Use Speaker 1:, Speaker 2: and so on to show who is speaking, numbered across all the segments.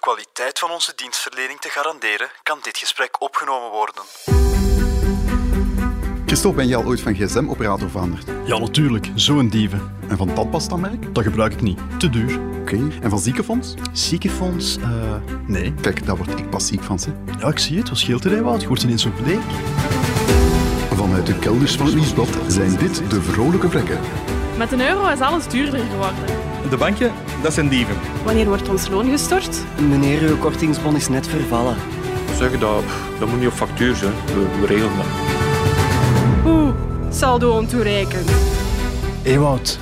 Speaker 1: kwaliteit van onze dienstverlening te garanderen, kan dit gesprek opgenomen worden.
Speaker 2: Christophe, ben jij al ooit van gsm-operator veranderd?
Speaker 3: Ja, natuurlijk. Zo'n dieven.
Speaker 2: En van tandpastamerk?
Speaker 3: Dat gebruik ik niet. Te duur.
Speaker 2: Oké. En van ziekenfonds?
Speaker 3: Ziekenfonds? Eh, nee.
Speaker 2: Kijk, daar word ik pas ziek van, hè.
Speaker 3: Ja, ik zie het. Wat scheelt er, hè, Wout? Je wordt ineens zo bleek.
Speaker 2: Vanuit de kelders van het nieuwsblad zijn dit de vrolijke plekken.
Speaker 4: Met een euro is alles duurder geworden.
Speaker 5: De bankje, dat zijn dieven.
Speaker 4: Wanneer wordt ons loon gestort?
Speaker 6: Meneer, uw kortingsbon is net vervallen.
Speaker 7: zeggen dat, pff, dat moet niet op factuur zijn. We, we regelen dat.
Speaker 4: Oeh, saldo ontoereikend.
Speaker 3: Hé, Wout.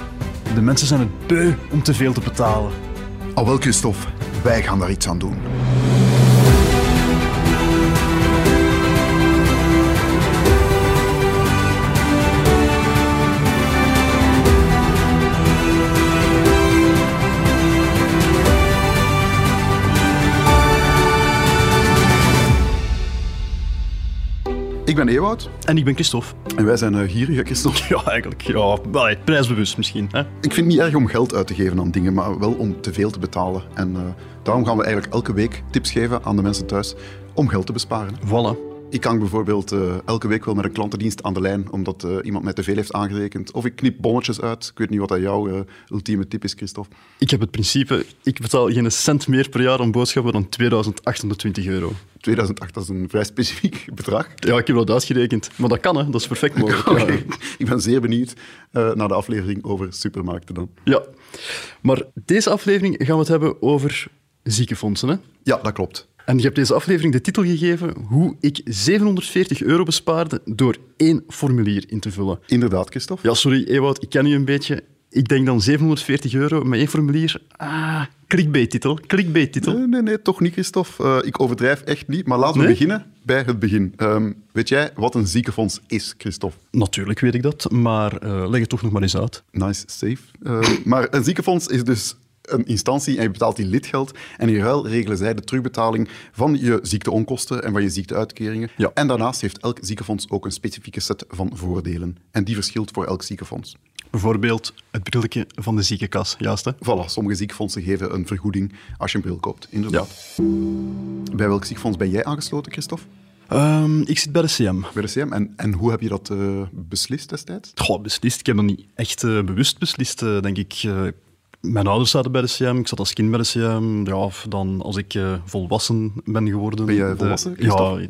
Speaker 3: De mensen zijn het beu om te veel te betalen.
Speaker 2: Al wel, Christophe, wij gaan daar iets aan doen. Ik ben Ewout
Speaker 3: En ik ben Christophe.
Speaker 2: en wij zijn eh, gierige Christophe.
Speaker 3: Ja, eigenlijk. Ja, wel, prijsbewust misschien. Hè?
Speaker 2: Ik vind het niet erg om geld uit te geven aan dingen, maar wel om te veel te betalen. En eh, daarom gaan we eigenlijk elke week tips geven aan de mensen thuis om geld te besparen.
Speaker 3: Voilà.
Speaker 2: Ik hang bijvoorbeeld eh, elke week wel met een klantendienst aan de lijn, omdat eh, iemand mij te veel heeft aangerekend. Of ik knip bonnetjes uit. Ik weet niet wat dat jouw eh, ultieme tip is, Christophe.
Speaker 3: Ik heb het principe, ik betaal geen cent meer per jaar aan boodschappen dan 2820 euro.
Speaker 2: 2008, dat is een vrij specifiek bedrag.
Speaker 3: Ja, ik heb dat uitgerekend. Maar dat kan, hè. Dat is perfect mogelijk. Ja.
Speaker 2: Oké, Ik ben zeer benieuwd eh, naar de aflevering over supermarkten dan.
Speaker 3: Ja. Maar deze aflevering gaan we het hebben over ziekenfondsen, hè.
Speaker 2: Ja, dat klopt.
Speaker 3: En je hebt deze aflevering de titel gegeven hoe ik 740 euro bespaarde door één formulier in te vullen.
Speaker 2: Inderdaad, Christophe.
Speaker 3: Ja, sorry Ewout, ik ken u een beetje. Ik denk dan 740 euro met één formulier. Ah, clickbait-titel, clickbait-titel.
Speaker 2: Nee, nee, nee, toch niet, Christophe. Eh, ik overdrijf echt niet. Maar laten we
Speaker 3: Nee?
Speaker 2: beginnen bij het begin. Ehm, weet jij wat een ziekenfonds is, Christophe?
Speaker 3: Natuurlijk weet ik dat, maar eh, leg het toch nog maar eens uit.
Speaker 2: Nice, safe. Eh, maar een ziekenfonds is dus een instantie en je betaalt die lidgeld. En in ruil regelen zij de terugbetaling van je ziekteonkosten en van je ziekteuitkeringen.
Speaker 3: Ja.
Speaker 2: En daarnaast heeft elk ziekenfonds ook een specifieke set van voordelen. En die verschilt voor elk ziekenfonds.
Speaker 3: Bijvoorbeeld het brilletje van de ziekenkas, juist hè?
Speaker 2: Voilà, sommige ziekenfondsen geven een vergoeding als je een bril koopt, inderdaad. Bij welk ziekenfonds ben jij aangesloten, Christophe?
Speaker 3: Ehm, ik zit bij de CM.
Speaker 2: Bij de CM. En, en hoe heb je dat eh, beslist destijds?
Speaker 3: Goh, beslist. Ik heb dat niet echt eh, bewust beslist, eh, denk ik. Eh, mijn ouders zaten bij de CM, ik zat als kind bij de CM. Ja, of dan als ik eh, volwassen ben geworden.
Speaker 2: Ben jij
Speaker 3: de-
Speaker 2: volwassen,
Speaker 3: ja,
Speaker 2: Christophe?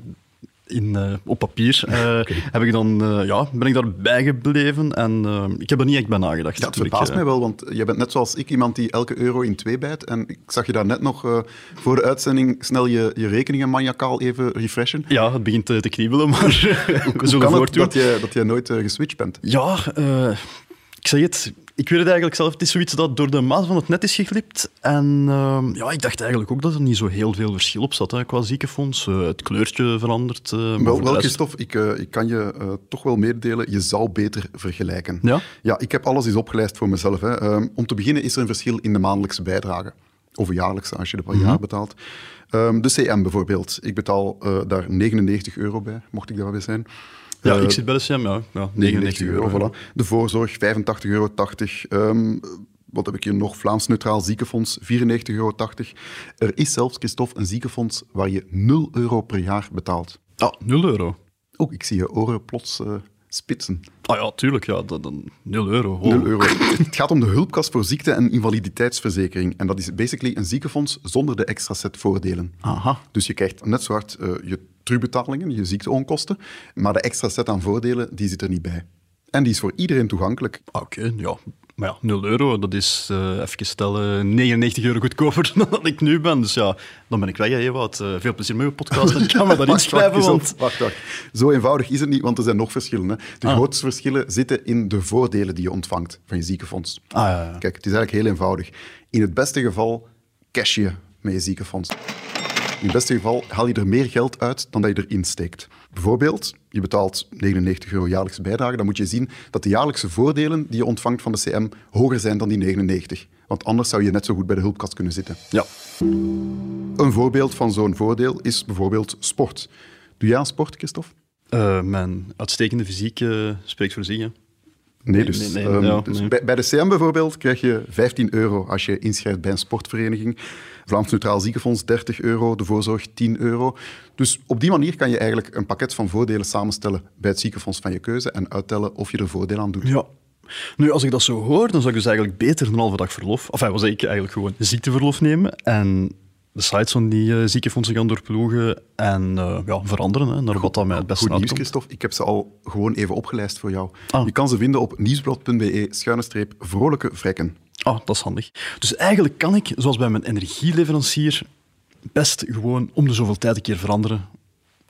Speaker 3: in, eh, op papier eh, heb ik dan, eh, ja, ben ik daarbij gebleven en eh, ik heb er niet echt bij nagedacht.
Speaker 2: Ja, het
Speaker 3: toen ik,
Speaker 2: verbaast
Speaker 3: eh,
Speaker 2: mij wel, want jij bent net zoals ik iemand die elke euro in twee bijt. En ik zag je daar net nog eh, voor de uitzending snel je, je rekeningen maniacaal even refreshen.
Speaker 3: Ja, het begint eh, te kriebelen, maar we
Speaker 2: Hoe
Speaker 3: zullen
Speaker 2: kan het
Speaker 3: voortdoen.
Speaker 2: dat jij, dat jij nooit eh, geswitcht bent?
Speaker 3: Ja, eh, ik zeg het. Ik weet het eigenlijk zelf. Het is zoiets dat door de maat van het net is geglipt. En ehm, ja, ik dacht eigenlijk ook dat er niet zo heel veel verschil op zat hè, qua ziekenfonds. Eh, het kleurtje verandert. eh, maar voor
Speaker 2: Wel,
Speaker 3: de
Speaker 2: wel
Speaker 3: rest-
Speaker 2: Christophe, ik, eh, ik kan je eh, toch wel meedelen, je zou beter vergelijken.
Speaker 3: Ja?
Speaker 2: Ja, ik heb alles eens opgelijst voor mezelf. Hè. Ehm, om te beginnen is er een verschil in de maandelijkse bijdrage. Of jaarlijkse, als je er per
Speaker 3: Mhm.
Speaker 2: jaar betaalt. Ehm, de CM bijvoorbeeld. Ik betaal eh, daar 99 euro bij, mocht ik daarbij zijn.
Speaker 3: Ja,
Speaker 2: Eh,
Speaker 3: ik zit bij de CM, ja. ja
Speaker 2: 99 euro, voilà. De voorzorg 85,80 euro. Ehm, wat heb ik hier nog? Vlaams Neutraal Ziekenfonds 94,80 euro. Er is zelfs, Christophe, een ziekenfonds waar je 0 euro per jaar betaalt.
Speaker 3: Ja, 0 euro.
Speaker 2: Ook, ik zie je oren plots eh, spitsen.
Speaker 3: Ah ja, tuurlijk. Ja, dat, dan 0 euro. oh.
Speaker 2: 0 euro. Het gaat om de hulpkast voor ziekte- en invaliditeitsverzekering. En dat is basically een ziekenfonds zonder de extra set voordelen.
Speaker 3: Aha.
Speaker 2: Dus je krijgt net zo hard eh, je terugbetalingen, je ziekteonkosten, maar de extra set aan voordelen, die zit er niet bij. En die is voor iedereen toegankelijk.
Speaker 3: Ah, Oké, ja. Maar ja, 0 euro, dat is, eh, even stellen, 99 euro goedkoper dan dat ik nu ben. Dus ja, dan ben ik weg, hè, Ewout. Eh, veel plezier met uw podcast. Ik kan me daar
Speaker 2: Wacht,
Speaker 3: inschrijven,
Speaker 2: wacht,
Speaker 3: want...
Speaker 2: Christophe, Wacht, wacht. Zo eenvoudig is het niet, want er zijn nog verschillen. Hè. De
Speaker 3: Ah.
Speaker 2: grootste verschillen zitten in de voordelen die je ontvangt van je ziekenfonds.
Speaker 3: Ah, ja, ja.
Speaker 2: Kijk, het is eigenlijk heel eenvoudig. In het beste geval cash je met je ziekenfonds. In het beste geval haal je er meer geld uit dan dat je erin steekt. Bijvoorbeeld, je betaalt 99 euro jaarlijkse bijdrage. Dan moet je zien dat de jaarlijkse voordelen die je ontvangt van de CM hoger zijn dan die 99. Want anders zou je net zo goed bij de hulpkast kunnen zitten.
Speaker 3: Ja.
Speaker 2: Een voorbeeld van zo'n voordeel is bijvoorbeeld sport. Doe jij aan sport, Christophe?
Speaker 3: Eh, mijn uitstekende fysiek eh, spreekt voor zich. hè.
Speaker 2: Nee, dus,
Speaker 3: Nee, nee,
Speaker 2: ehm,
Speaker 3: ja,
Speaker 2: dus
Speaker 3: nee.
Speaker 2: bij, bij de CM bijvoorbeeld krijg je 15 euro als je inschrijft bij een sportvereniging. Vlaams Neutraal Ziekenfonds 30 euro, de voorzorg 10 euro. Dus op die manier kan je eigenlijk een pakket van voordelen samenstellen bij het ziekenfonds van je keuze en uittellen of je er voordeel aan doet.
Speaker 3: Ja. Nu, als ik dat zo hoor, dan zou ik dus eigenlijk beter een halve dag verlof, of was ik eigenlijk gewoon ziekteverlof nemen en de sites van die eh, ziekenfondsen gaan doorploegen en eh, ja, veranderen hè, naar wat dat mij het beste
Speaker 2: Goed nieuws,
Speaker 3: uitkomt.
Speaker 2: Christophe. Ik heb ze al gewoon even opgelijst voor jou.
Speaker 3: Ah.
Speaker 2: Je kan ze vinden op nieuwsblad.be schuine streep vrolijke vrekken.
Speaker 3: Ah, dat is handig. Dus eigenlijk kan ik, zoals bij mijn energieleverancier, best gewoon om de zoveel tijd een keer veranderen,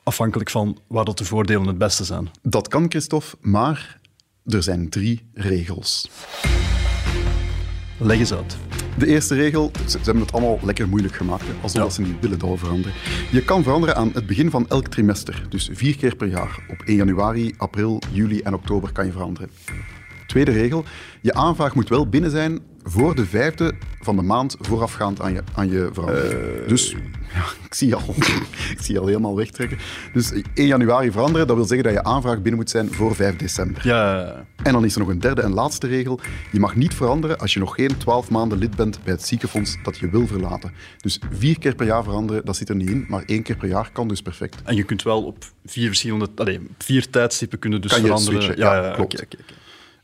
Speaker 3: afhankelijk van waar dat de voordelen het beste zijn.
Speaker 2: Dat kan, Christophe, maar er zijn drie regels.
Speaker 3: Leg eens uit.
Speaker 2: De eerste regel, ze, ze hebben het allemaal lekker moeilijk gemaakt, hè, alsof
Speaker 3: Ja.
Speaker 2: dat ze niet willen dat we veranderen. Je kan veranderen aan het begin van elk trimester, dus vier keer per jaar. Op 1 januari, april, juli en oktober kan je veranderen. Tweede regel, je aanvraag moet wel binnen zijn voor de vijfde van de maand voorafgaand aan je, aan je verandering. Dus, ja, ik zie je al, ik zie je al helemaal wegtrekken. Dus 1 januari veranderen, dat wil zeggen dat je aanvraag binnen moet zijn voor 5 december.
Speaker 3: Ja,
Speaker 2: En dan is er nog een derde en laatste regel. Je mag niet veranderen als je nog geen 12 maanden lid bent bij het ziekenfonds dat je wil verlaten. Dus vier keer per jaar veranderen, dat zit er niet in, maar één keer per jaar kan dus perfect.
Speaker 3: en je kunt wel op vier verschillende, allee, vier tijdstippen kunnen dus
Speaker 2: Kan je
Speaker 3: veranderen.
Speaker 2: switchen, ja, klopt.
Speaker 3: oké, oké, oké.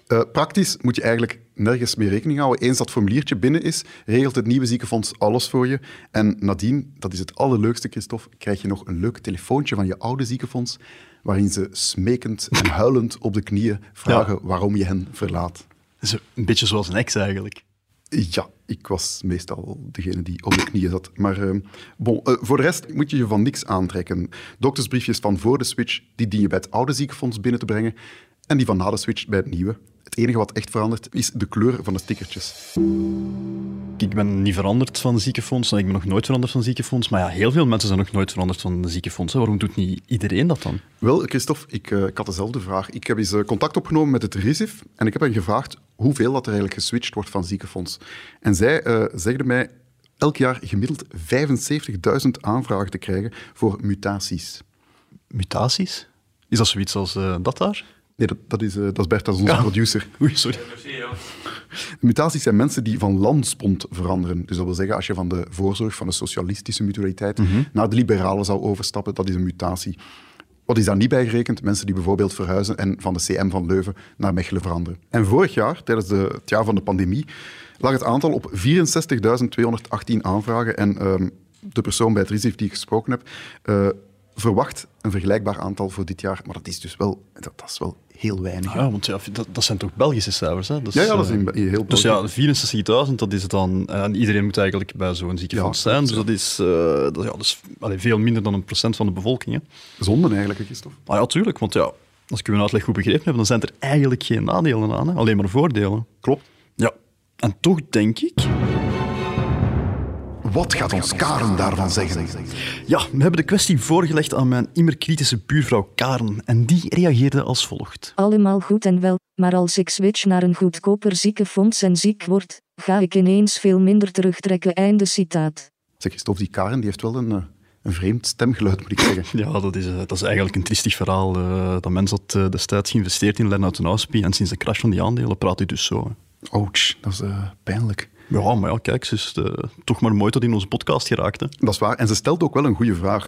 Speaker 2: Eh, praktisch moet je eigenlijk nergens mee rekening houden. Eens dat formuliertje binnen is, regelt het nieuwe ziekenfonds alles voor je. En nadien, dat is het allerleukste, Christophe, krijg je nog een leuk telefoontje van je oude ziekenfonds, waarin ze smekend en huilend op de knieën vragen waarom je hen verlaat.
Speaker 3: Dat is een beetje zoals een ex eigenlijk.
Speaker 2: Ja, ik was meestal degene die op de knieën zat. Maar eh, bon, eh, voor de rest moet je je van niks aantrekken. Doktersbriefjes van voor de switch, die dien je bij het oude ziekenfonds binnen te brengen. En die van na de switch bij het nieuwe. Het enige wat echt verandert, is de kleur van de stickertjes.
Speaker 3: Ik ben niet veranderd van ziekenfonds. en Ik ben nog nooit veranderd van ziekenfonds. Maar ja, heel veel mensen zijn nog nooit veranderd van ziekenfonds. hè. Waarom doet niet iedereen dat dan?
Speaker 2: Wel, Christophe, ik, eh, ik had dezelfde vraag. Ik heb eens eh, contact opgenomen met het RISIF en ik heb hen gevraagd hoeveel dat er eigenlijk geswitcht wordt van ziekenfonds. En zij eh, zegden mij elk jaar gemiddeld 75.000 aanvragen te krijgen voor mutaties.
Speaker 3: Mutaties? Is dat zoiets als eh, dat daar?
Speaker 2: Nee, dat, dat, is, eh, dat is Bert, dat is onze producer.
Speaker 3: Oei, sorry.
Speaker 2: Mutaties zijn mensen die van landspont veranderen. Dus dat wil zeggen, als je van de voorzorg van de socialistische mutualiteit naar de liberale zou overstappen, dat is een mutatie. Wat is daar niet bij gerekend? Mensen die bijvoorbeeld verhuizen en van de CM van Leuven naar Mechelen veranderen. En vorig jaar, tijdens de, het jaar van de pandemie, lag het aantal op 64.218 aanvragen. En ehm, de persoon bij het RISIF die ik gesproken heb, eh, verwacht een vergelijkbaar aantal voor dit jaar. Maar dat is dus wel, dat, dat is wel heel weinig.
Speaker 3: Ah Ja, want ja, dat, dat zijn toch Belgische cijfers? Hè? Dus,
Speaker 2: Ja, ja, dat is
Speaker 3: eh,
Speaker 2: in, in heel
Speaker 3: Dus
Speaker 2: België.
Speaker 3: ja, 64.000, dat is het dan. En iedereen moet eigenlijk bij zo'n ziekenfonds
Speaker 2: Ja,
Speaker 3: zijn. Dus dat is, eh, dat, ja, dat is allee, veel minder dan een procent van de bevolking. Hè?
Speaker 2: Zonden eigenlijk, hè, Christophe.
Speaker 3: Maar ja, tuurlijk. Want ja, als ik uw uitleg goed begrepen heb, dan zijn er eigenlijk geen nadelen aan. Hè? Alleen maar voordelen.
Speaker 2: Klopt.
Speaker 3: Ja. En toch denk ik
Speaker 2: Wat gaat ons Karen daarvan zeggen?
Speaker 3: Ja, we hebben de kwestie voorgelegd aan mijn immer kritische buurvrouw Karen. En die reageerde als volgt.
Speaker 5: Allemaal goed en wel, maar als ik switch naar een goedkoper ziekenfonds en ziek word, ga ik ineens veel minder terugtrekken. Einde citaat.
Speaker 2: Zeg, Christophe, die Karen die heeft wel een, eh, een vreemd stemgeluid, moet ik zeggen.
Speaker 3: Ja, dat is, eh, dat is eigenlijk een triestig verhaal. eh, dat mens had eh, destijds geïnvesteerd in Lennart en Auspie en sinds de crash van die aandelen praat hij dus zo. hè.
Speaker 2: Ouch, dat is eh, pijnlijk.
Speaker 3: Ja, maar ja, kijk, ze is eh, toch maar mooi tot in onze podcast geraakt. Hè.
Speaker 2: Dat is waar. En ze stelt ook wel een goede vraag.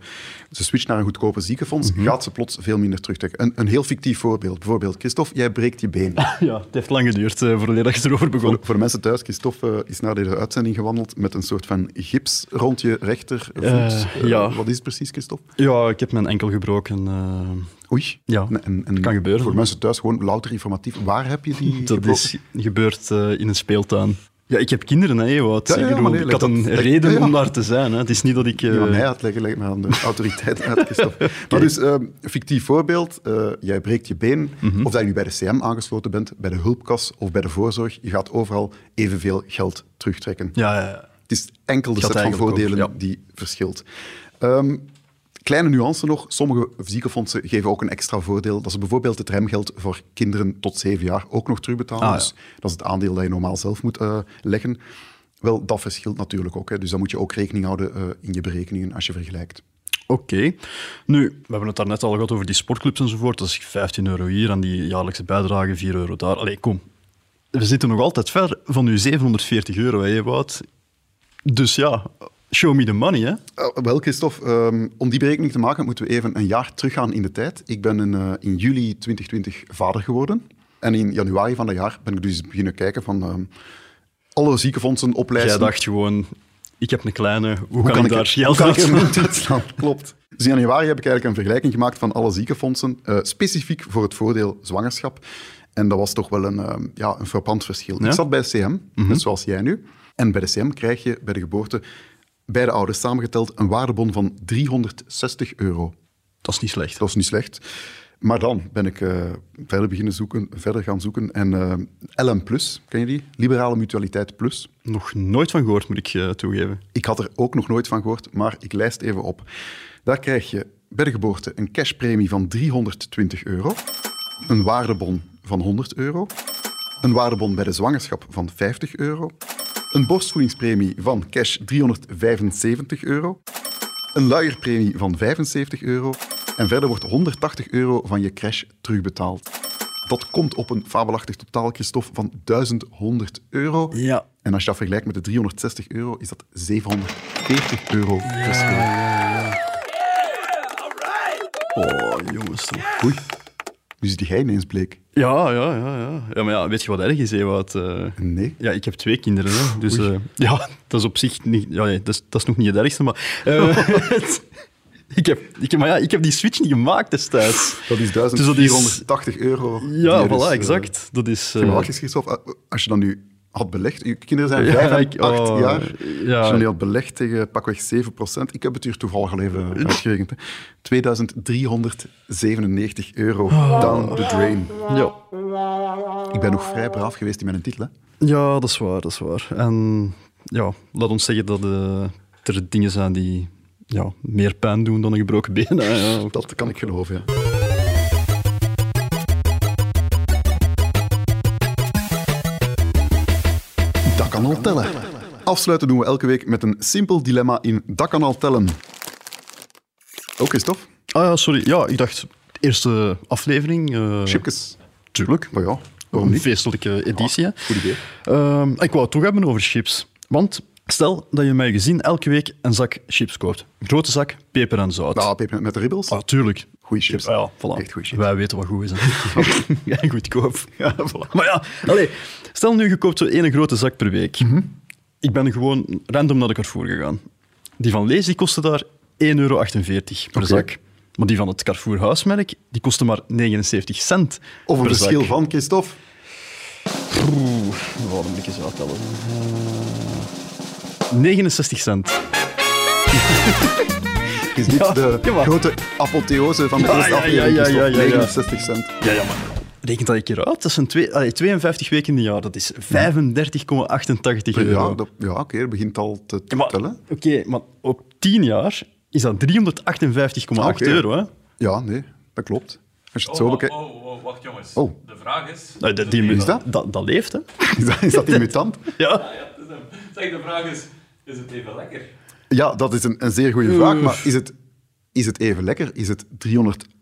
Speaker 2: Ze switcht naar een goedkope ziekenfonds, gaat ze plots veel minder terugtrekken. Een, een heel fictief voorbeeld. Bijvoorbeeld, Christophe, jij breekt je been.
Speaker 3: Ja, het heeft lang geduurd eh voordat je erover
Speaker 2: Voor,
Speaker 3: begon.
Speaker 2: voor de mensen thuis, Christophe eh, is na deze uitzending gewandeld met een soort van gips rond je rechtervoet.
Speaker 3: Eh,
Speaker 2: Eh,
Speaker 3: ja.
Speaker 2: Wat is het precies, Christophe?
Speaker 3: Ja, ik heb mijn enkel gebroken. eh,
Speaker 2: Oei.
Speaker 3: Ja,
Speaker 2: En- en- en
Speaker 3: kan gebeuren.
Speaker 2: Voor de mensen thuis gewoon louter informatief. Waar heb je die
Speaker 3: dat
Speaker 2: gebroken?
Speaker 3: is gebeurd eh, in een speeltuin. Ja, ik heb kinderen, hè, Wout.
Speaker 2: Ja, ja,
Speaker 3: Ik bedoel,
Speaker 2: maar nee,
Speaker 3: ik
Speaker 2: leg
Speaker 3: had een
Speaker 2: dat- leg-
Speaker 3: reden
Speaker 2: ja, ja.
Speaker 3: om daar te zijn. Hè. Het is niet dat ik... eh,
Speaker 2: Die van mij uitleggen, leg maar aan de autoriteit uit, Christophe. Maar dus, ehm, fictief voorbeeld, eh, jij breekt je been, of dat je nu bij de CM aangesloten bent, bij de hulpkas of bij de voorzorg, je gaat overal evenveel geld terugtrekken.
Speaker 3: ja, ja, ja.
Speaker 2: Het is enkel de
Speaker 3: Gaat
Speaker 2: set van
Speaker 3: eigenlijk ook,
Speaker 2: voordelen
Speaker 3: ja.
Speaker 2: die verschilt. Ehm, kleine nuance nog, sommige ziekenfondsen geven ook een extra voordeel, dat ze bijvoorbeeld het remgeld voor kinderen tot zeven jaar ook nog terugbetalen.
Speaker 3: Ah, ja.
Speaker 2: Dus dat is het aandeel dat je normaal zelf moet eh, leggen. Wel, dat verschilt natuurlijk ook. Hè. Dus daar moet je ook rekening houden eh, in je berekeningen als je vergelijkt.
Speaker 3: Oké. Nu, we hebben het daarnet al gehad over die sportclubs enzovoort. Dat is 15 euro hier en die jaarlijkse bijdrage 4 euro daar. Allee, kom. We zitten nog altijd ver van uw 740 euro, hè, Wout? Dus ja, show me the money, hè?
Speaker 2: Eh, wel, Christophe, ehm, om die berekening te maken moeten we even een jaar teruggaan in de tijd. Ik ben in, eh, in juli 2020 vader geworden. En in januari van dat jaar ben ik dus beginnen kijken van ehm, alle ziekenfondsen
Speaker 3: Jij
Speaker 2: oplijsten.
Speaker 3: dacht gewoon, ik heb een kleine, hoe, kan, ik daar
Speaker 2: er-
Speaker 3: geld
Speaker 2: hoe kan ik er
Speaker 3: uithalen?
Speaker 2: niet uitslaan? Klopt. Dus in januari heb ik eigenlijk een vergelijking gemaakt van alle ziekenfondsen, eh, specifiek voor het voordeel zwangerschap. En dat was toch wel een, ehm, ja, een frappant verschil.
Speaker 3: Ja? Mhm.
Speaker 2: Ik zat bij CM, net zoals jij nu. En bij de CM krijg je bij de geboorte, beide ouders samengeteld, een waardebon van 360 euro.
Speaker 3: Dat is niet slecht.
Speaker 2: Dat is niet slecht. Maar dan ben ik eh, verder beginnen zoeken, verder gaan zoeken. En eh, LM Plus, ken je die? Liberale Mutualiteit Plus.
Speaker 3: Nog nooit van gehoord, moet ik eh, toegeven.
Speaker 2: Ik had er ook nog nooit van gehoord, maar ik lijst even op. Daar krijg je bij de geboorte een cashpremie van 320 euro, een waardebon van 100 euro, een waardebon bij de zwangerschap van 50 euro, een borstvoedingspremie van cash 375 euro, een luierpremie van 75 euro en verder wordt 180 euro van je crash terugbetaald. Dat komt op een fabelachtig totaal, Christophe, van 1100 euro.
Speaker 3: Ja.
Speaker 2: En als je dat vergelijkt met de 360 euro, is dat 740 euro verschil.
Speaker 3: Oh, jongens. toch.
Speaker 2: Oei. Nu zit jij ineens bleek.
Speaker 3: Ja, ja, ja, ja. Ja, maar ja, weet je wat erg is, hè, Wout? Eh,
Speaker 2: Nee.
Speaker 3: Ja, ik heb twee kinderen. Hè. Dus eh, ja, dat is op zich niet. Ja, nee, dat, is, dat is nog niet het ergste, maar. eh, het- ik, heb, ik, heb, maar ja, ik heb die switch niet gemaakt destijds.
Speaker 2: Dat is
Speaker 3: Dus dat is-
Speaker 2: 1480 euro.
Speaker 3: Ja,
Speaker 2: Die er
Speaker 3: voilà,
Speaker 2: is, eh,
Speaker 3: exact. Dat is. eh,
Speaker 2: Ja, maar wacht eens, Christophe. eh, Als je dan nu had belegd... Je kinderen zijn
Speaker 3: Ja,
Speaker 2: 5
Speaker 3: ik-
Speaker 2: en 8
Speaker 3: oh,
Speaker 2: jaar.
Speaker 3: ja.
Speaker 2: Als je dan die had belegd tegen pakweg 7 procent... Ik heb het hier toevallig al even uitgerekend. hè. 2397 euro down the drain.
Speaker 3: Oh. ja.
Speaker 2: Ik ben nog vrij braaf geweest in mijn titel. Hè.
Speaker 3: ja, dat is waar, dat is waar. En ja, laat ons zeggen dat eh, er dingen zijn die ja, meer pijn doen dan een gebroken been. hè, ja.
Speaker 2: Dat kan ik geloven, ja. Dat kan al tellen. Afsluiten doen we elke week met een simpel dilemma in Dat kan al tellen. Ook Christophe,
Speaker 3: Ah ja, sorry. Ja, ik dacht, eerste aflevering. eh,
Speaker 2: chipjes.
Speaker 3: Tuurlijk.
Speaker 2: Maar ja, waarom niet?
Speaker 3: Een
Speaker 2: Ah,
Speaker 3: feestelijke editie. hè.
Speaker 2: Goed idee.
Speaker 3: Ehm, ik wou het toch hebben over chips. Want stel dat je met je gezin elke week een zak chips koopt. Een grote zak, peper en zout.
Speaker 2: Nou, peper met de ribbels.
Speaker 3: ah, tuurlijk.
Speaker 2: Goeie chips.
Speaker 3: Ah, ja, voilà.
Speaker 2: Echt goeie chips.
Speaker 3: Wij weten wat goed is. Hè. ja, goedkoop. Ja, voilà. Maar ja, allee, stel nu je koopt zo één grote zak per week.
Speaker 2: Mhm.
Speaker 3: Ik ben gewoon random naar de Carrefour gegaan. Die van Lees die kostte daar 1,48 euro per zak. Maar die van het Carrefour huismerk die kostte maar 79 cent
Speaker 2: Of een
Speaker 3: per zak.
Speaker 2: verschil van, Christophe.
Speaker 3: Oeh, wat een beetje zo tellen. Eh, 69 cent.
Speaker 2: Is dit
Speaker 3: Ja,
Speaker 2: de
Speaker 3: ja, maar-
Speaker 2: grote apotheose van de
Speaker 3: Ja,
Speaker 2: eerste
Speaker 3: ja, ja,
Speaker 2: aflevering,
Speaker 3: ja, ja,
Speaker 2: Christophe?
Speaker 3: ja, ja.
Speaker 2: 69 cent.
Speaker 3: Ja, ja, maar reken dat een keer uit. Dat zijn twee, allee, 52 weken in een jaar. Dat is 35,88
Speaker 2: Ja,
Speaker 3: euro.
Speaker 2: dat- ja oké, het begint al te
Speaker 3: Ja, maar-
Speaker 2: tellen.
Speaker 3: Oké, maar op 10 jaar is dat 358,8
Speaker 2: Ah, oké.
Speaker 3: euro. Hè?
Speaker 2: Ja, nee, dat klopt. Als je het zo bekijkt...
Speaker 8: Oh, oh, wacht jongens.
Speaker 2: Oh.
Speaker 8: De vraag is...
Speaker 3: Nou, dat, die,
Speaker 2: is dat?
Speaker 3: Dat, dat leeft, hè?
Speaker 2: Is dat, is dat die mutant?
Speaker 3: Ja.
Speaker 8: Ja, het is hem. Zeg, de vraag is, is het even lekker?
Speaker 2: Ja, dat is een, een zeer goede vraag. Maar is het, is het even lekker? Is het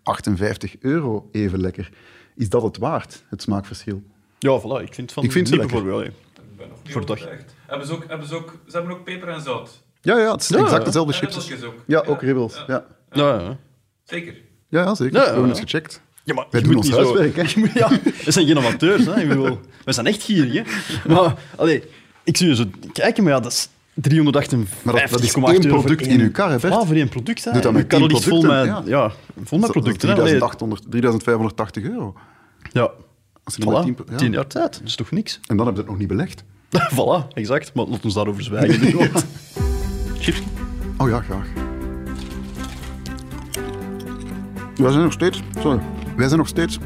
Speaker 2: 358 euro even lekker? Is dat het waard, het smaakverschil?
Speaker 3: Ja, voilà. Ik vind van
Speaker 2: Ik vind ze
Speaker 3: die
Speaker 2: lekker.
Speaker 3: bijvoorbeeld. allee.
Speaker 8: Ik ben nog niet
Speaker 3: Voor dag.
Speaker 8: overtuigd. Hebben ze, ook, hebben, ze ook, ze hebben ook peper en zout.
Speaker 2: Ja, ja het is exact dezelfde
Speaker 8: En
Speaker 2: chips.
Speaker 8: ribbeltjes ook.
Speaker 2: Ja, ook ribbels. Ja, ja.
Speaker 3: Ja, ja.
Speaker 8: Zeker.
Speaker 2: ja zeker.
Speaker 3: Ja,
Speaker 2: We hebben
Speaker 3: ja.
Speaker 2: het gecheckt.
Speaker 3: Ja, maar
Speaker 2: Wij
Speaker 3: je
Speaker 2: doen
Speaker 3: moet
Speaker 2: ons
Speaker 3: niet zo-
Speaker 2: huiswerk, hè.
Speaker 3: Je moet- Ja, we zijn geen amateurs, hè. Ik bedoel, we zijn echt gierig, hè. Maar, allee, ik zie je zo kijken, maar ja, dat is 358,8
Speaker 2: Maar dat- dat is
Speaker 3: euro
Speaker 2: één
Speaker 3: voor
Speaker 2: product
Speaker 3: één-
Speaker 2: in uw kar, hè, Bert?
Speaker 3: Ah, voor één product, hè.
Speaker 2: Doe dat
Speaker 3: Uw
Speaker 2: met
Speaker 3: kar
Speaker 2: tien
Speaker 3: ligt vol met,
Speaker 2: producten,
Speaker 3: ja.
Speaker 2: ja.
Speaker 3: vol met producten, hè.
Speaker 2: Dat is
Speaker 3: Allee,
Speaker 2: 3800 3580 euro.
Speaker 3: Ja.
Speaker 2: Als je er maar
Speaker 3: Voilà,
Speaker 2: 10
Speaker 3: tien,
Speaker 2: ja.
Speaker 3: jaar tijd. Dat is toch niks?
Speaker 2: En dan hebben ze het nog niet belegd.
Speaker 3: voilà, exact. Maar laat ons daarover zwijgen. nu, want- Chips.
Speaker 2: Oh ja, graag. Wij zijn nog steeds, sorry, wij zijn nog steeds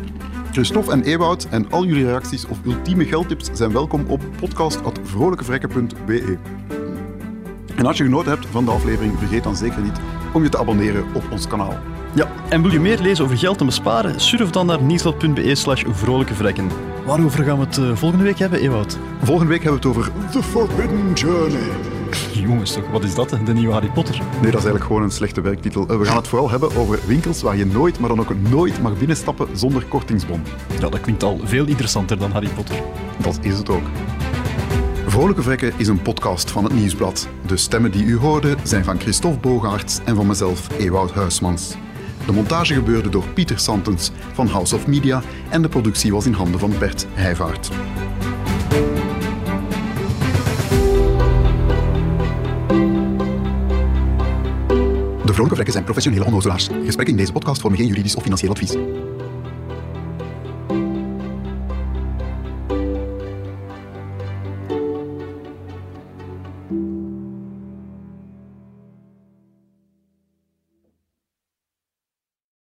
Speaker 2: Christophe en Ewout en al jullie reacties of ultieme geldtips zijn welkom op podcast.vrolijkevrekken.be. En als je genoten hebt van de aflevering, vergeet dan zeker niet om je te abonneren op ons kanaal.
Speaker 3: Ja, en wil je meer lezen over geld en besparen? Surf dan naar nieuwsblad.be slash vrolijke vrekken. Waarover gaan we het eh, volgende week hebben, Ewout?
Speaker 2: Volgende week hebben we het over The Forbidden Journey.
Speaker 3: Jongens, toch, wat is dat? hè? De nieuwe Harry Potter.
Speaker 2: Nee, dat is eigenlijk gewoon een slechte werktitel. Eh, We gaan het vooral hebben over winkels waar je nooit, maar dan ook nooit mag binnenstappen zonder kortingsbon.
Speaker 3: Ja, dat klinkt al veel interessanter dan Harry Potter.
Speaker 2: Dat is het ook. Vrolijke Vrekken is een podcast van het Nieuwsblad. De stemmen die u hoorde zijn van Christophe Bogaerts en van mezelf, Ewout Huismans. De montage gebeurde door Pieter Santens van House of Media en de productie was in handen van Bert Heijvaart. De Vrolijke Vrekken zijn professionele onnozelaars. Gesprekken in deze podcast vormen geen juridisch of financieel advies.